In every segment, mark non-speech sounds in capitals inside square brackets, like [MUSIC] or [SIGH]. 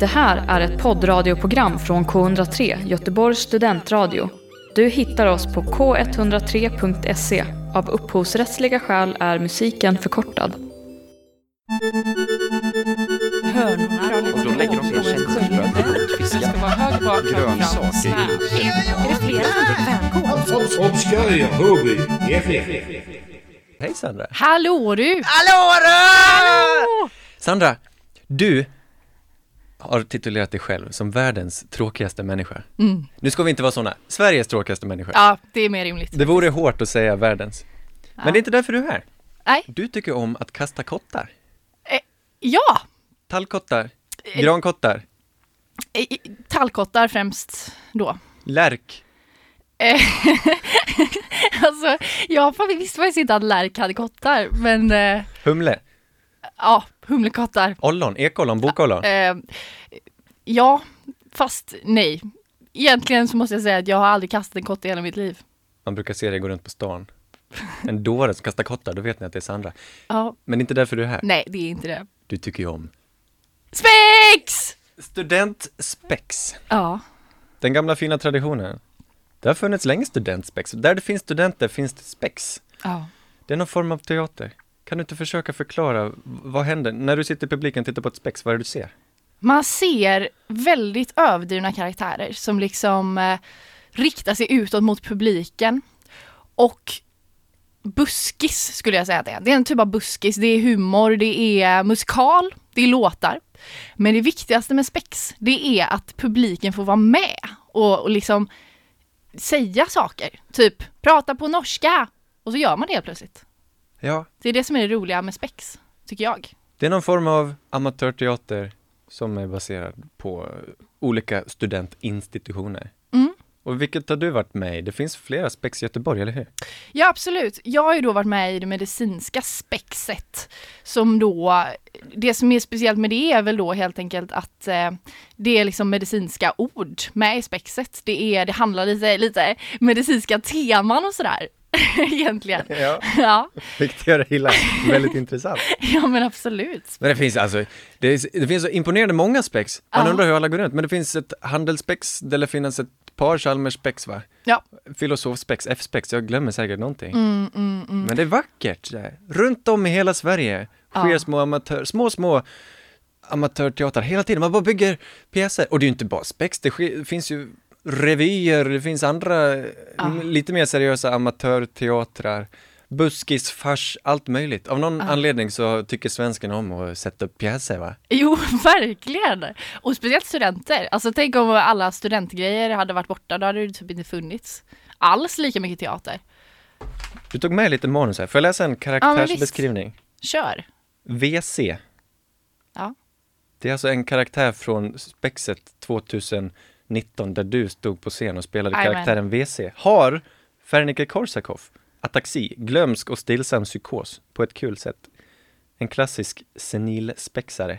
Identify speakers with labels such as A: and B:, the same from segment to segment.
A: Det här är ett poddradioprogram från K103, Göteborgs studentradio. Du hittar oss på k103.se. Av upphovsrättsliga skäl är musiken förkortad.
B: Och då lägger de sina känselspröt runt fiskar. Grönsaker.
C: Obscura Ruby FM.
B: Hej Sandra!
D: Hallå du!
B: Hallå du! Sandra, du har titulerat dig själv som världens tråkigaste människa. Nu ska vi inte vara såna. Sveriges tråkigaste människa.
D: Mm. Ja, det är mer rimligt.
B: Det vore hårt att säga världens. Men det är inte därför du är här.
D: Nej,
B: Du tycker om att kasta kottar.
D: eh, ja!
B: Tallkottar, grankottar,
D: Eh, i- Tallkottar främst då. [LAUGHS]
B: lärk.
D: Alltså, jag fan- visste faktiskt inte att lärk hade kottar, men eh,
B: Humle,
D: ja, humlekottar.
B: ollon, ekollon, bokollon.
D: Eh, ja, fast nej. Egentligen så måste jag säga att jag har aldrig kastat en kotte i hela mitt liv.
B: Man brukar se dig gå runt på stan. En dåre som kastar kottar, då vet ni att det är Sandra.
D: Ja,
B: Men det är inte därför du är här.
D: nej, det är inte det.
B: Du tycker ju om
D: Spex!
B: studentspex.
D: Ja,
B: Den gamla fina traditionen. Det har funnits länge studentspex. Där det finns studenter finns det spex.
D: ja.
B: Det är någon form av teater. Kan du inte försöka förklara, v- vad händer? När du sitter i publiken och tittar på ett spex, vad är det du ser?
D: Man ser väldigt överdrivna karaktärer som liksom eh, riktar sig utåt mot publiken. Och buskis skulle jag säga att det är. Det är en typ av buskis. Det är humor, det är musikal, det är låtar. Men det viktigaste med spex, det är att publiken får vara med och, och liksom säga saker. Typ prata på norska och så gör man det helt plötsligt.
B: Ja,
D: Det är det som är det roliga med spex, tycker jag.
B: det är någon form av amatörteater som är baserad på eh, olika studentinstitutioner.
D: Mm.
B: Och vilket har du varit med i? Det finns flera spex i Göteborg, eller hur?
D: Ja absolut, jag har ju då varit med i det medicinska spexet som då, det som är speciellt med det är väl då helt enkelt att eh, det är liksom medicinska ord med i spexet. Det, är, det handlar lite, lite medicinska teman och sådär [LAUGHS] egentligen.
B: Ja.
D: Ja,
B: [LAUGHS] Vilket jag gillar, väldigt intressant.
D: ja men absolut.
B: Men det finns alltså, det, är, det finns så imponerande många spex. Man
D: Ja.
B: undrar hur alla går runt, men det finns ett handelsspex, där det finns ett par Chalmers-spex va?
D: Ja,
B: Filosofspex, F-spex, jag glömmer säkert någonting. Men det är vackert. det här. Runt om i hela Sverige sker
D: Ja.
B: små, amatör, små, små amatörteater hela tiden. Man bara bygger pjäser. Och det är ju inte bara spex, det sker, finns ju revyer, det finns andra eh, m- lite mer seriösa amatörteatrar. Buskis, fars, allt möjligt. Av någon anledning så tycker svensken om att sätta upp pjäser va?
D: jo [LAUGHS] verkligen. Och speciellt studenter. Alltså tänk om alla studentgrejer hade varit borta, då hade det typ inte funnits alls lika mycket teater.
B: Du tog med lite manus här, får jag läsa en karaktärsbeskrivning?
D: Kör.
B: VC,
D: Ja.
B: Det är alltså en karaktär från Spexet 2019 där du stod på scen och spelade
D: Jajamän.
B: karaktären VC. Har Fernike Korsakov ataxi, glömsk och stillsam psykos på ett kul sätt. En klassisk senil spexare.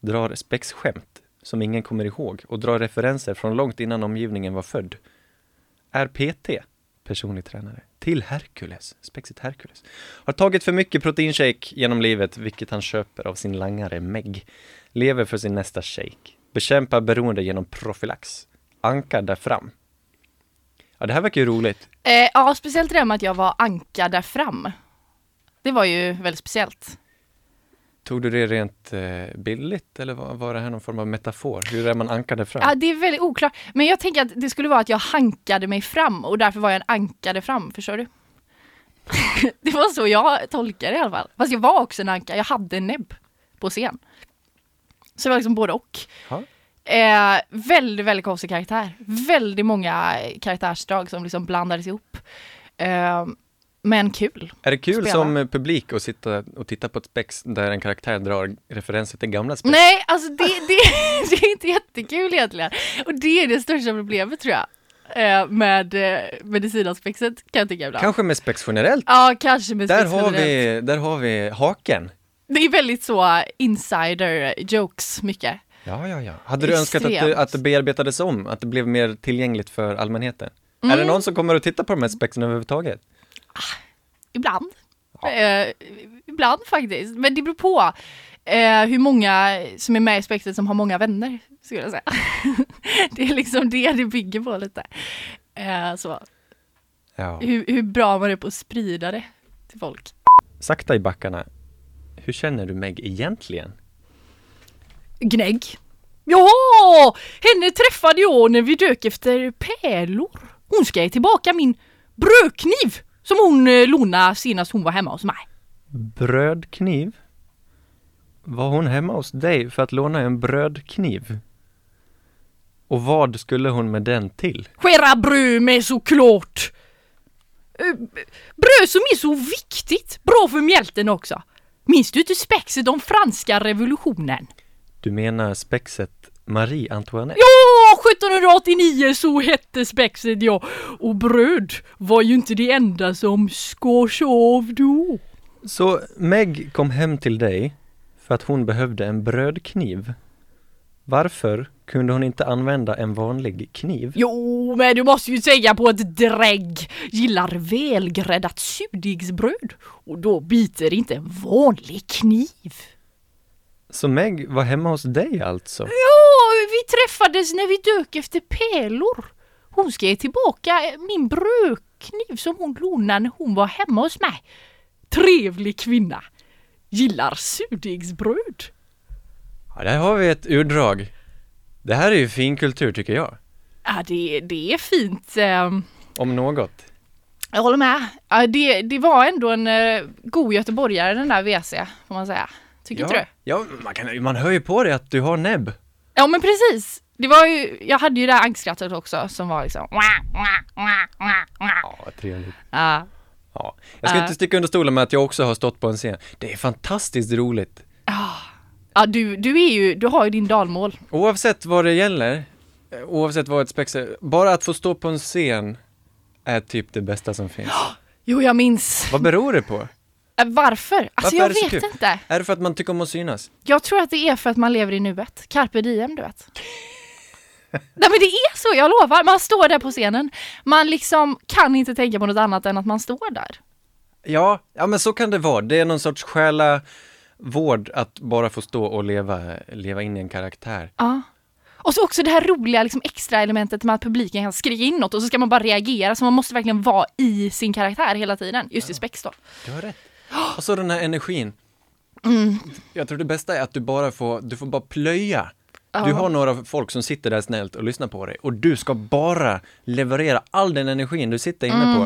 B: Drar spexskämt som ingen kommer ihåg och drar referenser från långt innan omgivningen var född. Är PT, personlig tränare, till Herkules, spexet Herkules. Har tagit för mycket proteinshake genom livet, vilket han köper av sin langare Meg. Lever för sin nästa shake. Bekämpar beroende genom profylax. Ankar där fram. Ja, det här verkar ju roligt.
D: Eh, ja, speciellt det där med att jag var anka där fram. Det var ju väldigt speciellt.
B: Tog du det rent eh, bildligt eller var, var det här någon form av metafor? Hur är man ankar där fram?
D: Ja, det är väldigt oklart. Men jag tänker att det skulle vara att jag hankade mig fram och därför var jag en anka där fram, förstår du? [LAUGHS] det var så jag tolkade det i alla fall. Fast jag var också en anka, jag hade en näbb på scen. Så det var liksom både och.
B: Ja.
D: Eh, väldigt, väldigt konstig karaktär. Väldigt många karaktärsdrag som liksom blandades ihop. Eh, men kul.
B: Är det kul
D: Spela.
B: som eh, publik att sitta och titta på ett spex där en karaktär drar referenser till gamla spex?
D: Nej, alltså det, det, [LAUGHS] det är inte jättekul egentligen. Och det är det största problemet tror jag. eh, Med eh, medicinaspexet kan jag tycka ibland.
B: Kanske med spex generellt?
D: Ja, kanske med
B: Där
D: spexet
B: har,
D: generellt.
B: vi, där har vi haken.
D: Det är väldigt så insider jokes mycket.
B: Ja, ja, ja. Hade du önskat att,
D: Extremt.
B: det- att det bearbetades om, att det blev mer tillgängligt för allmänheten? Är
D: Mm.
B: det någon som kommer att titta på de här spexen överhuvudtaget?
D: Ibland. Eh, ibland faktiskt. Men det beror på. eh, hur många som är med i spektret som har många vänner, skulle jag säga. [LAUGHS] det är liksom det det bygger på lite. Eh, så,
B: Ja.
D: hur, hur bra man är på att sprida det till folk.
B: Sakta i backarna. Hur känner du Meg egentligen?
D: Gnägg. Ja, henne träffade jag när vi dök efter pärlor. Hon ska ge tillbaka min brödkniv som hon eh, lånade senast hon var hemma hos mig.
B: Brödkniv? Var hon hemma hos dig för att låna en brödkniv? Och vad skulle hon med den till?
D: Skära bröd med såklart! Eh, Bröd som är så viktigt, bra för mjälten också. Minns du inte spexet om franska revolutionen?
B: Du menar spexet Marie Antoinette?
D: Ja, 1789 så hette spexet ja. Och bröd var ju inte det enda som skars av då.
B: Så Meg kom hem till dig för att hon behövde en brödkniv. Varför kunde hon inte använda en vanlig kniv?
D: Jo, men du måste ju säga på ett drägg gillar välgräddat surdegsbröd och då biter inte en vanlig kniv.
B: Så Meg var hemma hos dig alltså?
D: Ja, vi träffades när vi dök efter pärlor. Hon ska ge tillbaka min brödkniv som hon lånade när hon var hemma hos mig. Trevlig kvinna. Gillar surdegsbröd.
B: Ja, där har vi ett urdrag. Det här är ju fin kultur tycker jag.
D: Ja, det, det är fint. ehm.
B: Om något.
D: Jag håller med. Ja, det, det var ändå en eh, god göteborgare den där WC, får man säga. Tycker inte du?
B: Ja, man, kan, man hör ju på dig att du har näbb.
D: Ja men precis. Det var ju, jag hade ju det här ankskrattet också som var liksom
B: Ja, vad trevligt.
D: Ja,
B: Ja. Jag ska
D: Äh.
B: inte sticka under stolen med att jag också har stått på en scen. Det är fantastiskt roligt.
D: ja du, du är ju, du har ju din dalmål.
B: Oavsett vad det gäller, eh, oavsett vad ett spex är, bara att få stå på en scen är typ det bästa som finns.
D: Jo jag minns.
B: Vad beror det på?
D: Äh, Varför? Alltså
B: Varför är det så
D: jag vet
B: kul?
D: inte.
B: Är det för att man tycker om att synas?
D: Jag tror att det är för att man lever i nuet. Carpe diem du vet. Nej men det är så, jag lovar. Man står där på scenen. Man liksom kan inte tänka på något annat än att man står där.
B: Ja, ja men så kan det vara. Det är någon sorts själa vård att bara få stå och leva, leva in i en karaktär.
D: Ja. Och så också det här roliga liksom, extra elementet med att publiken kan skrika in något och så ska man bara reagera så man måste verkligen vara i sin karaktär hela tiden. Just i spex då.
B: Du har
D: [GASPS]
B: rätt. Och så den här energin.
D: Mm.
B: Jag tror det bästa är att du bara får, du får bara plöja. Du har några folk som sitter där snällt och lyssnar på dig och du ska bara leverera all den energin du sitter inne
D: Mm.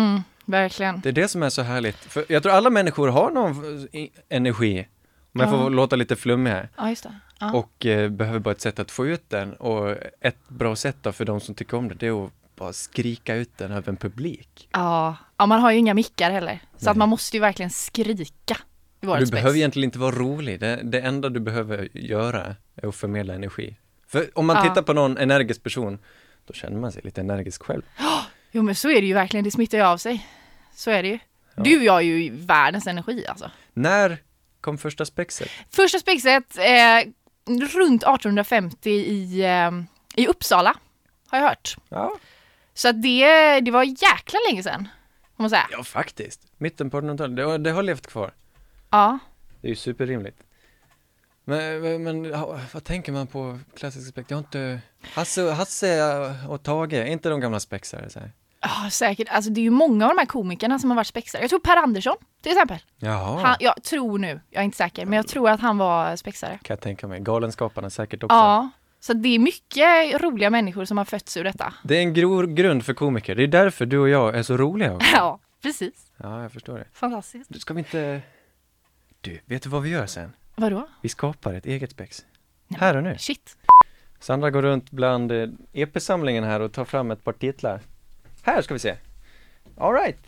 B: på.
D: Verkligen.
B: Det är det som är så härligt. För jag tror alla människor har någon eh, energi, om jag får låta lite flummig här,
D: Ja, just det. Ja.
B: och eh, behöver bara ett sätt att få ut den. Och ett bra sätt då för de som tycker om det, det är att bara skrika ut den över en publik.
D: Ja. ja, man har ju inga mickar heller. Så att man måste ju verkligen skrika i vårt
B: Du
D: spex.
B: behöver egentligen inte vara rolig. Det, det enda du behöver göra är att förmedla energi. För om man
D: Ja.
B: tittar på någon energisk person, då känner man sig lite energisk själv.
D: Jo men så är det ju verkligen, det smittar ju av sig. Så är det ju. Du och jag är ju världens energi alltså.
B: När kom första spexet?
D: Första spexet eh, runt 1850 i, eh, i Uppsala har jag hört.
B: Ja,
D: Så att det, det var jäkla länge sedan. Får man säga.
B: ja faktiskt. Mitten på 1800-talet, det, har- det har levt kvar.
D: Ja.
B: Det är ju superrimligt. Men, men- men ja, vad tänker man på klassisk spex? Jag har inte... Hasse, Hasse och Tage, är inte de gamla spexare? Så här?
D: Ja, säkert. Alltså det är ju många av de här komikerna som har varit spexare. Jag tror Per Andersson till exempel.
B: Jaha,
D: Han, jag tror nu, jag är inte säker, men jag tror att han var spexare.
B: kan jag tänka mig. Galenskaparna säkert också.
D: Ja, så det är mycket roliga människor som har fötts ur detta.
B: Det är en grov grund för komiker. Det är därför du och jag är så roliga också.
D: [LAUGHS] [LAUGHS] Ja, precis.
B: Ja, jag förstår det.
D: Fantastiskt.
B: Du, ska vi inte... Du, vet du vad vi gör sen?
D: Vadå?
B: Vi skapar ett eget spex.
D: Nej,
B: Här och nu.
D: Shit.
B: Sandra går runt bland eh, EP-samlingen här och tar fram ett par titlar. Här ska vi se. All right.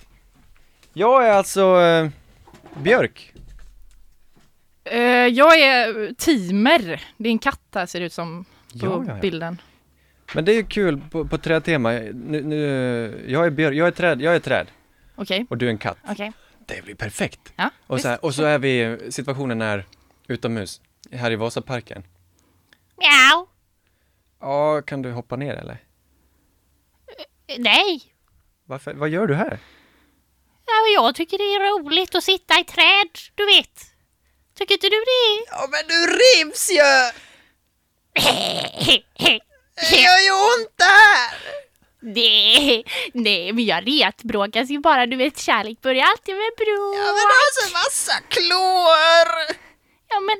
B: Jag är alltså eh, Björk.
D: Eh, jag är Timer. Det är en katt här ser det ut som på
B: Ja, ja, ja.
D: bilden.
B: Men det är ju kul på, på trädtema. Nu, nu, jag är Björk, jag är träd, jag är träd.
D: Okej.
B: Och du är en katt.
D: Okej.
B: Det blir perfekt.
D: Ja,
B: Och så,
D: visst.
B: här, och så är vi, situationen är utomhus, här i Vasaparken.
E: Miau.
B: Ja, kan du hoppa ner eller?
E: Nej,
B: Varför, vad gör du här?
E: ja, men jag tycker det är roligt att sitta i träd, du vet. Tycker inte du det? [LAUGHS]
F: Ja men du rivs ju! Det gör ju ont det här!
E: Nej, nej, men jag retbråkas ju bara. Du vet, kärlek börjar alltid med bråk.
F: Ja men du har så Alltså, massa klor!
E: Ja, men...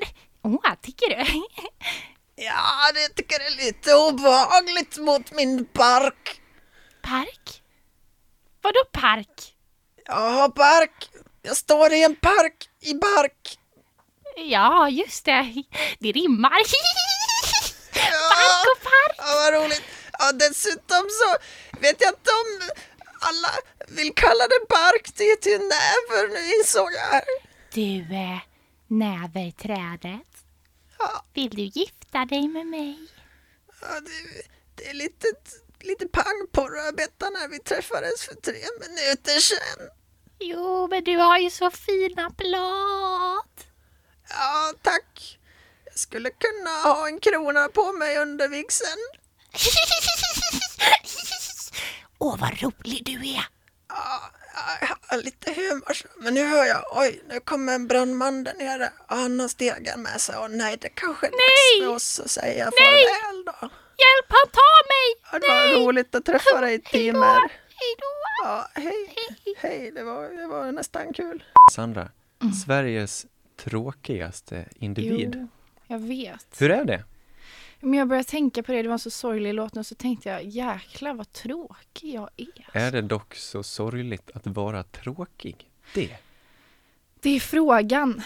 E: Åh, tycker du? [LAUGHS]
F: Ja, det tycker det är lite obehagligt mot min park.
E: Park? Vadå park?
F: Jag har park. Jag står i en park i bark.
E: Ja, just det. Det rimmar. [LAUGHS]
F: Ja,
E: Park och park.
F: Ja, vad roligt. Ja, dessutom så vet jag att de alla vill kalla det park. Det är till näver nu insåg jag här.
E: Du, eh, näverträdet.
F: Ja.
E: Vill du gifta dig med mig?
F: Ja, det, det är lite, lite pang på rödbetan när vi träffades för tre minuter sedan.
E: Jo, men du har ju så fina blad.
F: Ja, tack. Jag skulle kunna ha en krona på mig under vigseln.
E: [LAUGHS] Åh, vad rolig du är.
F: Ja, jag har lite humor så. Men nu hör jag, oj, nu kommer en brandman där nere. Ja, Han har stegen med sig och nej, det kanske är dags
E: Nej!
F: för oss att säga
E: Nej!
F: farväl då.
E: Hjälp, han tar mig!
F: Ja, det var roligt att träffa dig,
E: Hej då!
F: Timmer.
E: Hej då!
F: Ja, hej, hej, det var, det var nästan kul.
B: Sandra, Sveriges tråkigaste individ.
D: Mm. Jo, jag vet.
B: Hur är det?
D: Men jag började tänka på det, det var en så sorglig låt nu, så tänkte jag jäklar vad tråkig jag är.
B: Är det dock så sorgligt att vara tråkig? Det,
D: Det är frågan.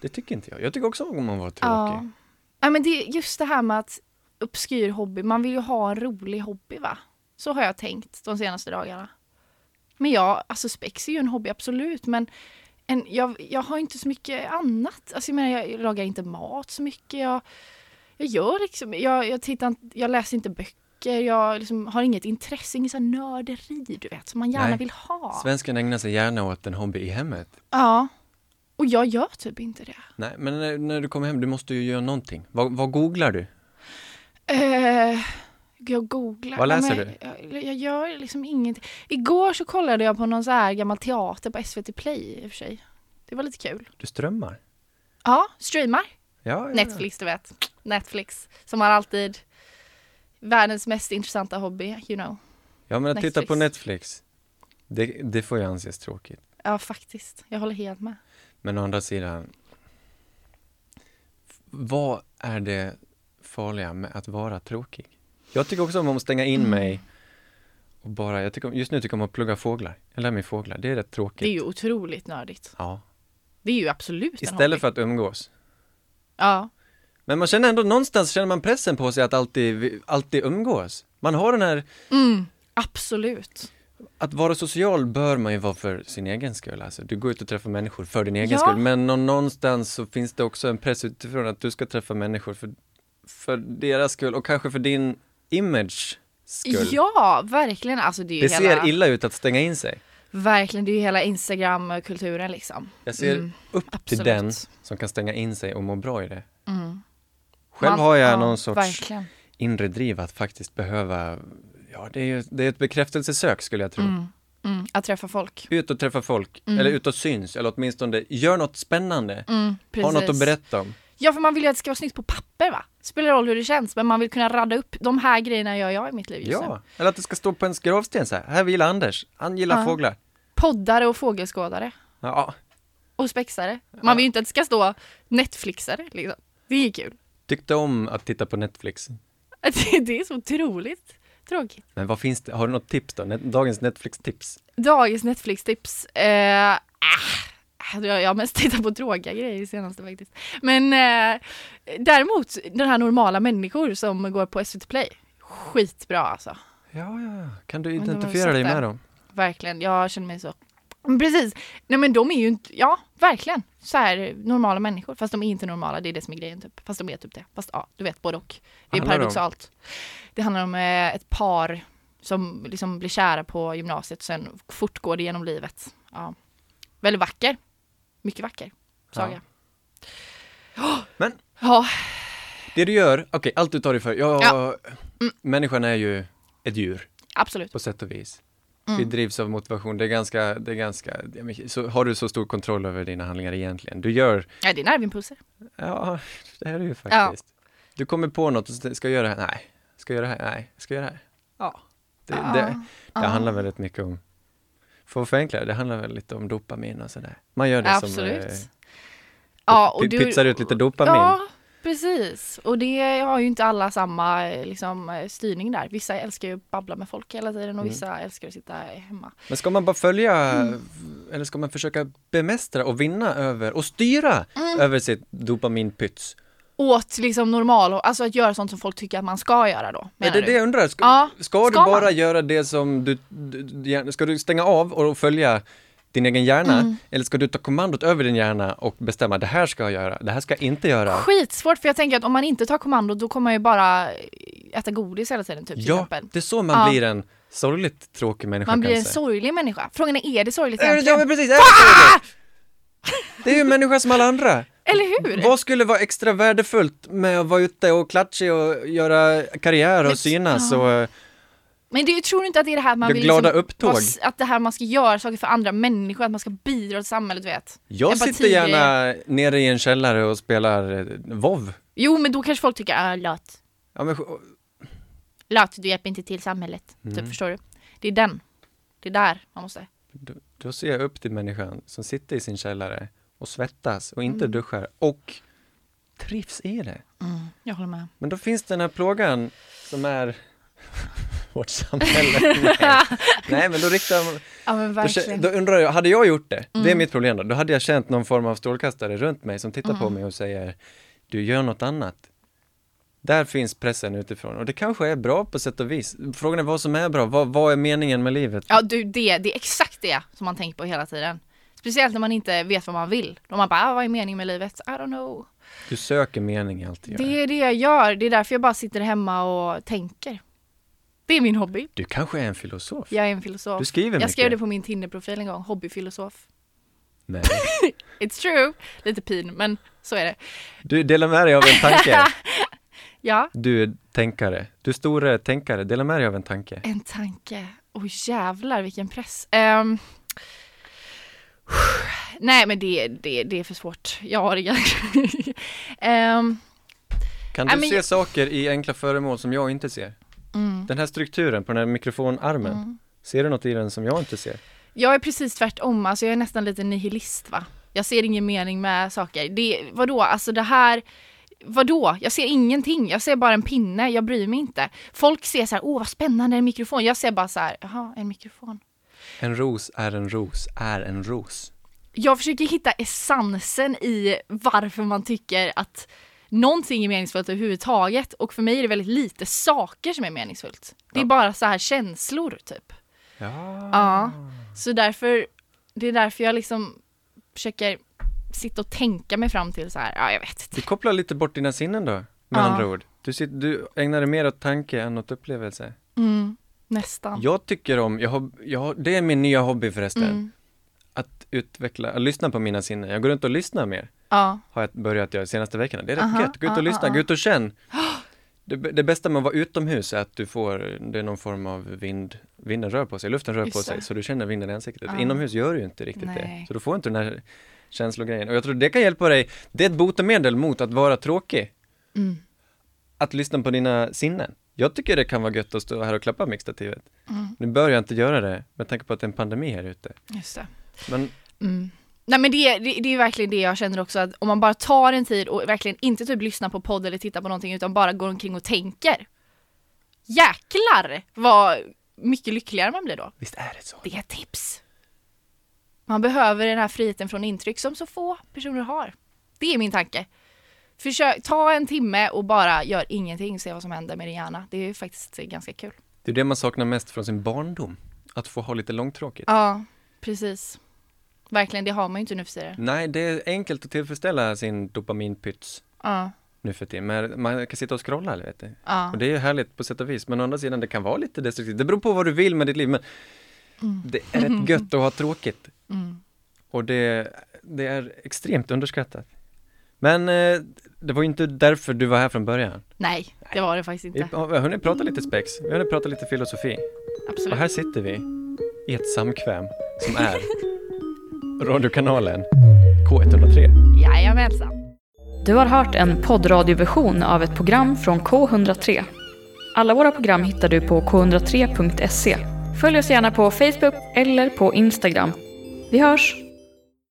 B: det tycker inte jag. Jag tycker också om att vara
D: Ja.
B: tråkig.
D: ja, men det är just det här med att obskyr hobby, man vill ju ha en rolig hobby va? Så har jag tänkt de senaste dagarna. Men ja, alltså spex är ju en hobby absolut, men en, jag, jag har inte så mycket annat. Alltså jag menar, jag lagar inte mat så mycket. Jag, jag gör liksom, jag, jag tittar inte- jag läser inte böcker, jag liksom har inget intresse, ingen sån här nörderi du vet, som man gärna
B: Nej.
D: vill ha.
B: Svensken ägnar sig gärna åt en hobby i hemmet.
D: Ja. Och jag gör typ inte det.
B: Nej, men när, när du kommer hem, du måste ju göra någonting. Vad, vad googlar du?
D: Eh, jag googlar.
B: Vad läser
D: Nej, men Jag, jag gör liksom ingenting. Igår så kollade jag på någon så här gammal teater på SVT Play i och för sig. Det var lite kul.
B: Du strömmar.
D: Ja, streamar.
B: Ja, ja.
D: Netflix, du vet. Netflix. Som har alltid världens mest intressanta hobby, you know.
B: ja men att titta på
D: Netflix.
B: Netflix, det, det får ju anses tråkigt.
D: Ja, faktiskt. Jag håller helt med.
B: Men å andra sidan, f- vad är det farliga med att vara tråkig? Jag tycker också om att stänga
D: Mm.
B: in mig och bara, jag tycker, om- just nu tycker jag om att plugga fåglar. Jag lär mig fåglar, det är rätt tråkigt.
D: Det är ju otroligt nördigt.
B: Ja,
D: Det är ju absolut en hobby.
B: istället för att umgås.
D: Ja.
B: Men man känner ändå någonstans, känner man pressen på sig att alltid, alltid umgås. Man har den här,
D: Mm, absolut.
B: att vara social bör man ju vara för sin egen skull. Alltså, du går ut och träffar människor för din egen
D: Ja.
B: skull. Men nå- någonstans så finns det också en press utifrån att du ska träffa människor för, för deras skull och kanske för din image skull.
D: Ja, verkligen. Alltså det är ju
B: det
D: hela...
B: ser illa ut att stänga in sig.
D: Verkligen, det är ju hela Instagram-kulturen liksom.
B: Jag ser
D: Mm,
B: upp till
D: absolut.
B: den som kan stänga in sig och må bra i det.
D: Mm.
B: Själv
D: Man-
B: har jag
D: ja,
B: någon sorts
D: Verkligen.
B: inre driv att faktiskt behöva, ja det är ju det är ett bekräftelsesök skulle jag tro.
D: Mm. Mm. Att träffa folk.
B: Ut och träffa folk, eller ut och syns, eller åtminstone gör något spännande.
D: Mm,
B: Ha något att berätta om.
D: Ja, för man vill ju att det ska vara snyggt på papper va? Spelar roll hur det känns, men man vill kunna radda upp de här grejerna gör jag i mitt liv just nu.
B: Ja, eller att det ska stå på en gravsten så här. Här vilar Anders, han gillar
D: Ja.
B: fåglar.
D: Poddare och fågelskådare.
B: Ja,
D: Och spexare. Man vill ju inte att det ska stå Netflixare liksom. Det är ju kul. [LAUGHS]
B: tyckte om att titta på Netflix.
D: Det- Det är så otroligt tråkigt.
B: Men vad finns det, har du något tips då? Net- Dagens Netflix-tips?
D: Dagens Netflix-tips. Eh, äh, alltså, jag jag har mest tittat på tråkiga grejer i senaste faktiskt. Men eh, däremot, den här normala människor som går på SVT Play. Skitbra alltså.
B: Ja, ja, ja. kan du
D: Men de har
B: identifiera
D: sett
B: dig med
D: det.
B: dem?
D: Verkligen, jag känner mig så. Men Precis, nej men de är ju inte, ja verkligen. Så här normala människor, fast de är inte normala, det är det som är grejen typ. Fast de är typ det, fast ja, du vet både och. Det är
B: Handlar det om?
D: paradoxalt. Det handlar om eh, ett par som liksom blir kära på gymnasiet och sen fortgår det genom livet. Ja. Väldigt vacker. Mycket vacker saga. [GASPS]
B: Men
D: Ja,
B: det du gör, okej, allt du tar dig för, ja,
D: Ja.
B: människan är ju ett djur
D: absolut.
B: på sätt och vis. Vi drivs av motivation. Det är ganska, det är ganska, det är mycket- så har du så stor kontroll över dina handlingar egentligen? Du gör,
D: Ja, det är nervimpulser.
B: ja, [LAUGHS] det här är ju faktiskt. Du kommer på något och så ska jag göra det här, nej. Ska jag göra det här, nej. Ska jag göra det här? Ja. Det, det, det handlar väldigt mycket om, för att förenkla det, det handlar väl lite om dopamin och sådär. Man gör det
D: Absolut.
B: som, eh,
D: Ja,
B: pi- pytsar ut lite dopamin.
D: Ja, precis. Och det har ju inte alla samma eh, liksom, eh, styrning där. Vissa älskar ju att babbla med folk hela tiden och
B: Mm.
D: vissa älskar att sitta hemma.
B: Men ska man bara följa, eller ska man försöka bemästra och vinna över och styra över sitt dopaminpyts?
D: Åt liksom normal, alltså att göra sånt som folk tycker att man ska göra då.
B: Är
D: menar
B: det
D: du?
B: det jag undrar? Ska,
D: Ja,
B: ska du
D: ska
B: bara
D: man?
B: göra det som du, du- du, ska du stänga av och följa din egen hjärna?
D: Mm.
B: Eller ska du ta kommandot över din hjärna och bestämma det här ska jag göra, det här ska jag inte göra?
D: Skitsvårt för jag tänker att om man inte tar kommandot då kommer man ju bara eh, äta godis hela tiden typ till
B: Ja,
D: exempel.
B: det är så man
D: Ja.
B: blir en sorgligt tråkig människa
D: Man blir en
B: kanske.
D: sorglig människa. Frågan är, är det sorgligt
B: Ja,
D: egentligen?
B: men precis, är det sorgligt? Det är ju en människa som alla andra.
D: Eller [LAUGHS] hur?
B: Vad skulle vara extra värdefullt med att vara ute och klatschig och göra karriär och synas och eh,
D: Men det, jag tror inte att det är det här man
B: Jag
D: vill liksom
B: glada upptåg.
D: vara s- Att det här man ska göra saker för andra människor, att man ska bidra till samhället du vet.
B: jag
D: Empati-
B: sitter gärna nere i en källare och spelar eh, WoW.
D: Jo men då kanske folk tycker, ah, lat,
B: Ja, men, sj-
D: lat, du hjälper inte till samhället.
B: Mm.
D: Typ, förstår du? Det är den. Det är där man måste.
B: då, då ser jag upp till människan som sitter i sin källare och svettas och inte duschar och trivs i det.
D: Jag håller med.
B: Men då finns den här plågan som är [LAUGHS] vårt samhälle. Nej. Nej, men då riktar man,
D: Ja men
B: Då,
D: verkligen. Mm.
B: kä- då undrar jag, hade jag gjort det, det är mitt problem då, då hade jag känt någon form av strålkastare runt mig som tittar
D: Mm.
B: på mig och säger du gör något annat. Där finns pressen utifrån och det kanske är bra på sätt och vis. Frågan är vad som är bra, vad, vad är meningen med livet?
D: Ja du, det, det är exakt det som man tänker på hela tiden. Speciellt när man inte vet vad man vill. Då man bara, ah, vad är meningen med livet? I don't know.
B: Du söker mening i allt du gör.
D: Det är det jag gör, det är därför jag bara sitter hemma och tänker. Det är min hobby.
B: Du kanske är en filosof?
D: Jag är en filosof.
B: Du skriver
D: jag
B: mycket.
D: skrev det på min Tinder-profil en gång, hobbyfilosof.
B: Nej.
D: It's true. Lite pin, men så är det.
B: Du delar med dig av en
D: [LAUGHS]
B: tanke.
D: Ja.
B: Du är tänkare. Du är store tänkare, dela med dig av en tanke.
D: En tanke. Oj jävlar vilken press. Ehm. [SIGHS] Nej men det, det, det är för svårt. Jag har inga... [LAUGHS] Ehm,
B: Kan
D: Nej,
B: du
D: men
B: se
D: jag- Mm.
B: saker i enkla föremål som jag inte ser? Den här strukturen på den här mikrofonarmen, ser du något i den som jag inte ser?
D: jag är precis tvärtom, alltså jag är nästan lite nihilist va. Jag ser ingen mening med saker. Det, vadå, alltså det här... Vadå? Jag ser ingenting. Jag ser bara en pinne. Jag bryr mig inte. Folk ser så här, åh vad spännande en mikrofon. Jag ser bara så här, jaha, en mikrofon.
B: En ros är en ros, är en ros.
D: jag försöker hitta essensen i varför man tycker att någonting är meningsfullt överhuvudtaget och för mig är det väldigt lite saker som är meningsfullt. Det är bara så här känslor typ.
B: Ja.
D: Ja, så därför, det är därför jag liksom försöker sitta och tänka mig fram till så här, ja jag vet inte.
B: Du kopplar lite bort dina sinnen då, med
D: Ja.
B: andra ord. Du, sit, du ägnar dig mer åt tanke än åt upplevelse.
D: Nästan.
B: Jag tycker om, jag har, jag har, det är min nya hobby förresten, att utveckla, att lyssna på mina sinnen. Jag går runt och lyssnar mer,
D: Ja,
B: har jag börjat göra de senaste veckorna. Det är rätt gött, gå ut och lyssna, gå ut och
D: [GASPS]
B: känn. Det, b- det bästa med att vara utomhus är att du får, det är någon form av vind, vinden rör på sig, luften rör
D: Just
B: på
D: det.
B: sig, så du känner vinden i ansiktet. Inomhus gör du ju inte riktigt
D: Nej.
B: det, så du får inte den här känslogrejen. Och jag tror det kan hjälpa dig, det är ett botemedel mot att vara tråkig.
D: Mm.
B: Att lyssna på dina sinnen. Jag tycker det kan vara gött att stå här och klappa mixtativet.
D: Mm.
B: Nu bör jag inte göra det, med tanke på att det är en pandemi här ute.
D: just det.
B: Men
D: Nej men det, det, det är verkligen det jag känner också att om man bara tar en tid och verkligen inte typ lyssnar på podd eller tittar på någonting utan bara går omkring och tänker. Jäklar vad mycket lyckligare man blir då.
B: visst är det så?
D: Det är ett tips. Man behöver den här friheten från intryck som så få personer har. Det är min tanke. Försök, ta en timme och bara gör ingenting och se vad som händer med din hjärna. Det är faktiskt ganska kul.
B: Det är det man saknar mest från sin barndom, att få ha lite långtråkigt.
D: Ja, precis. Verkligen, det har man ju inte nu för tiden.
B: Nej, det är enkelt att tillfredsställa sin dopaminpyts
D: Ja,
B: nu för tiden. Men man kan sitta och scrolla, eller vet du.
D: Ja.
B: Och det är ju härligt på sätt och vis. Men å andra sidan, det kan vara lite destruktivt. Det beror på vad du vill med ditt liv. Men
D: Mm.
B: det är
D: [LAUGHS]
B: rätt gött att ha tråkigt. Och det, det är extremt underskattat. Men eh, det var ju inte därför du var här från början.
D: nej, det var det faktiskt
B: Vi
D: inte.
B: har vi har hunnit prata lite spex, vi har hunnit prata lite filosofi. Och
D: Absolut.
B: här sitter vi i ett samkväm som är radiokanalen K103.
E: Jajamensan.
A: Du har hört en poddradioversion av ett program från K103. Alla våra program hittar du på k103.se. Följ oss gärna på Facebook eller på Instagram. Vi hörs!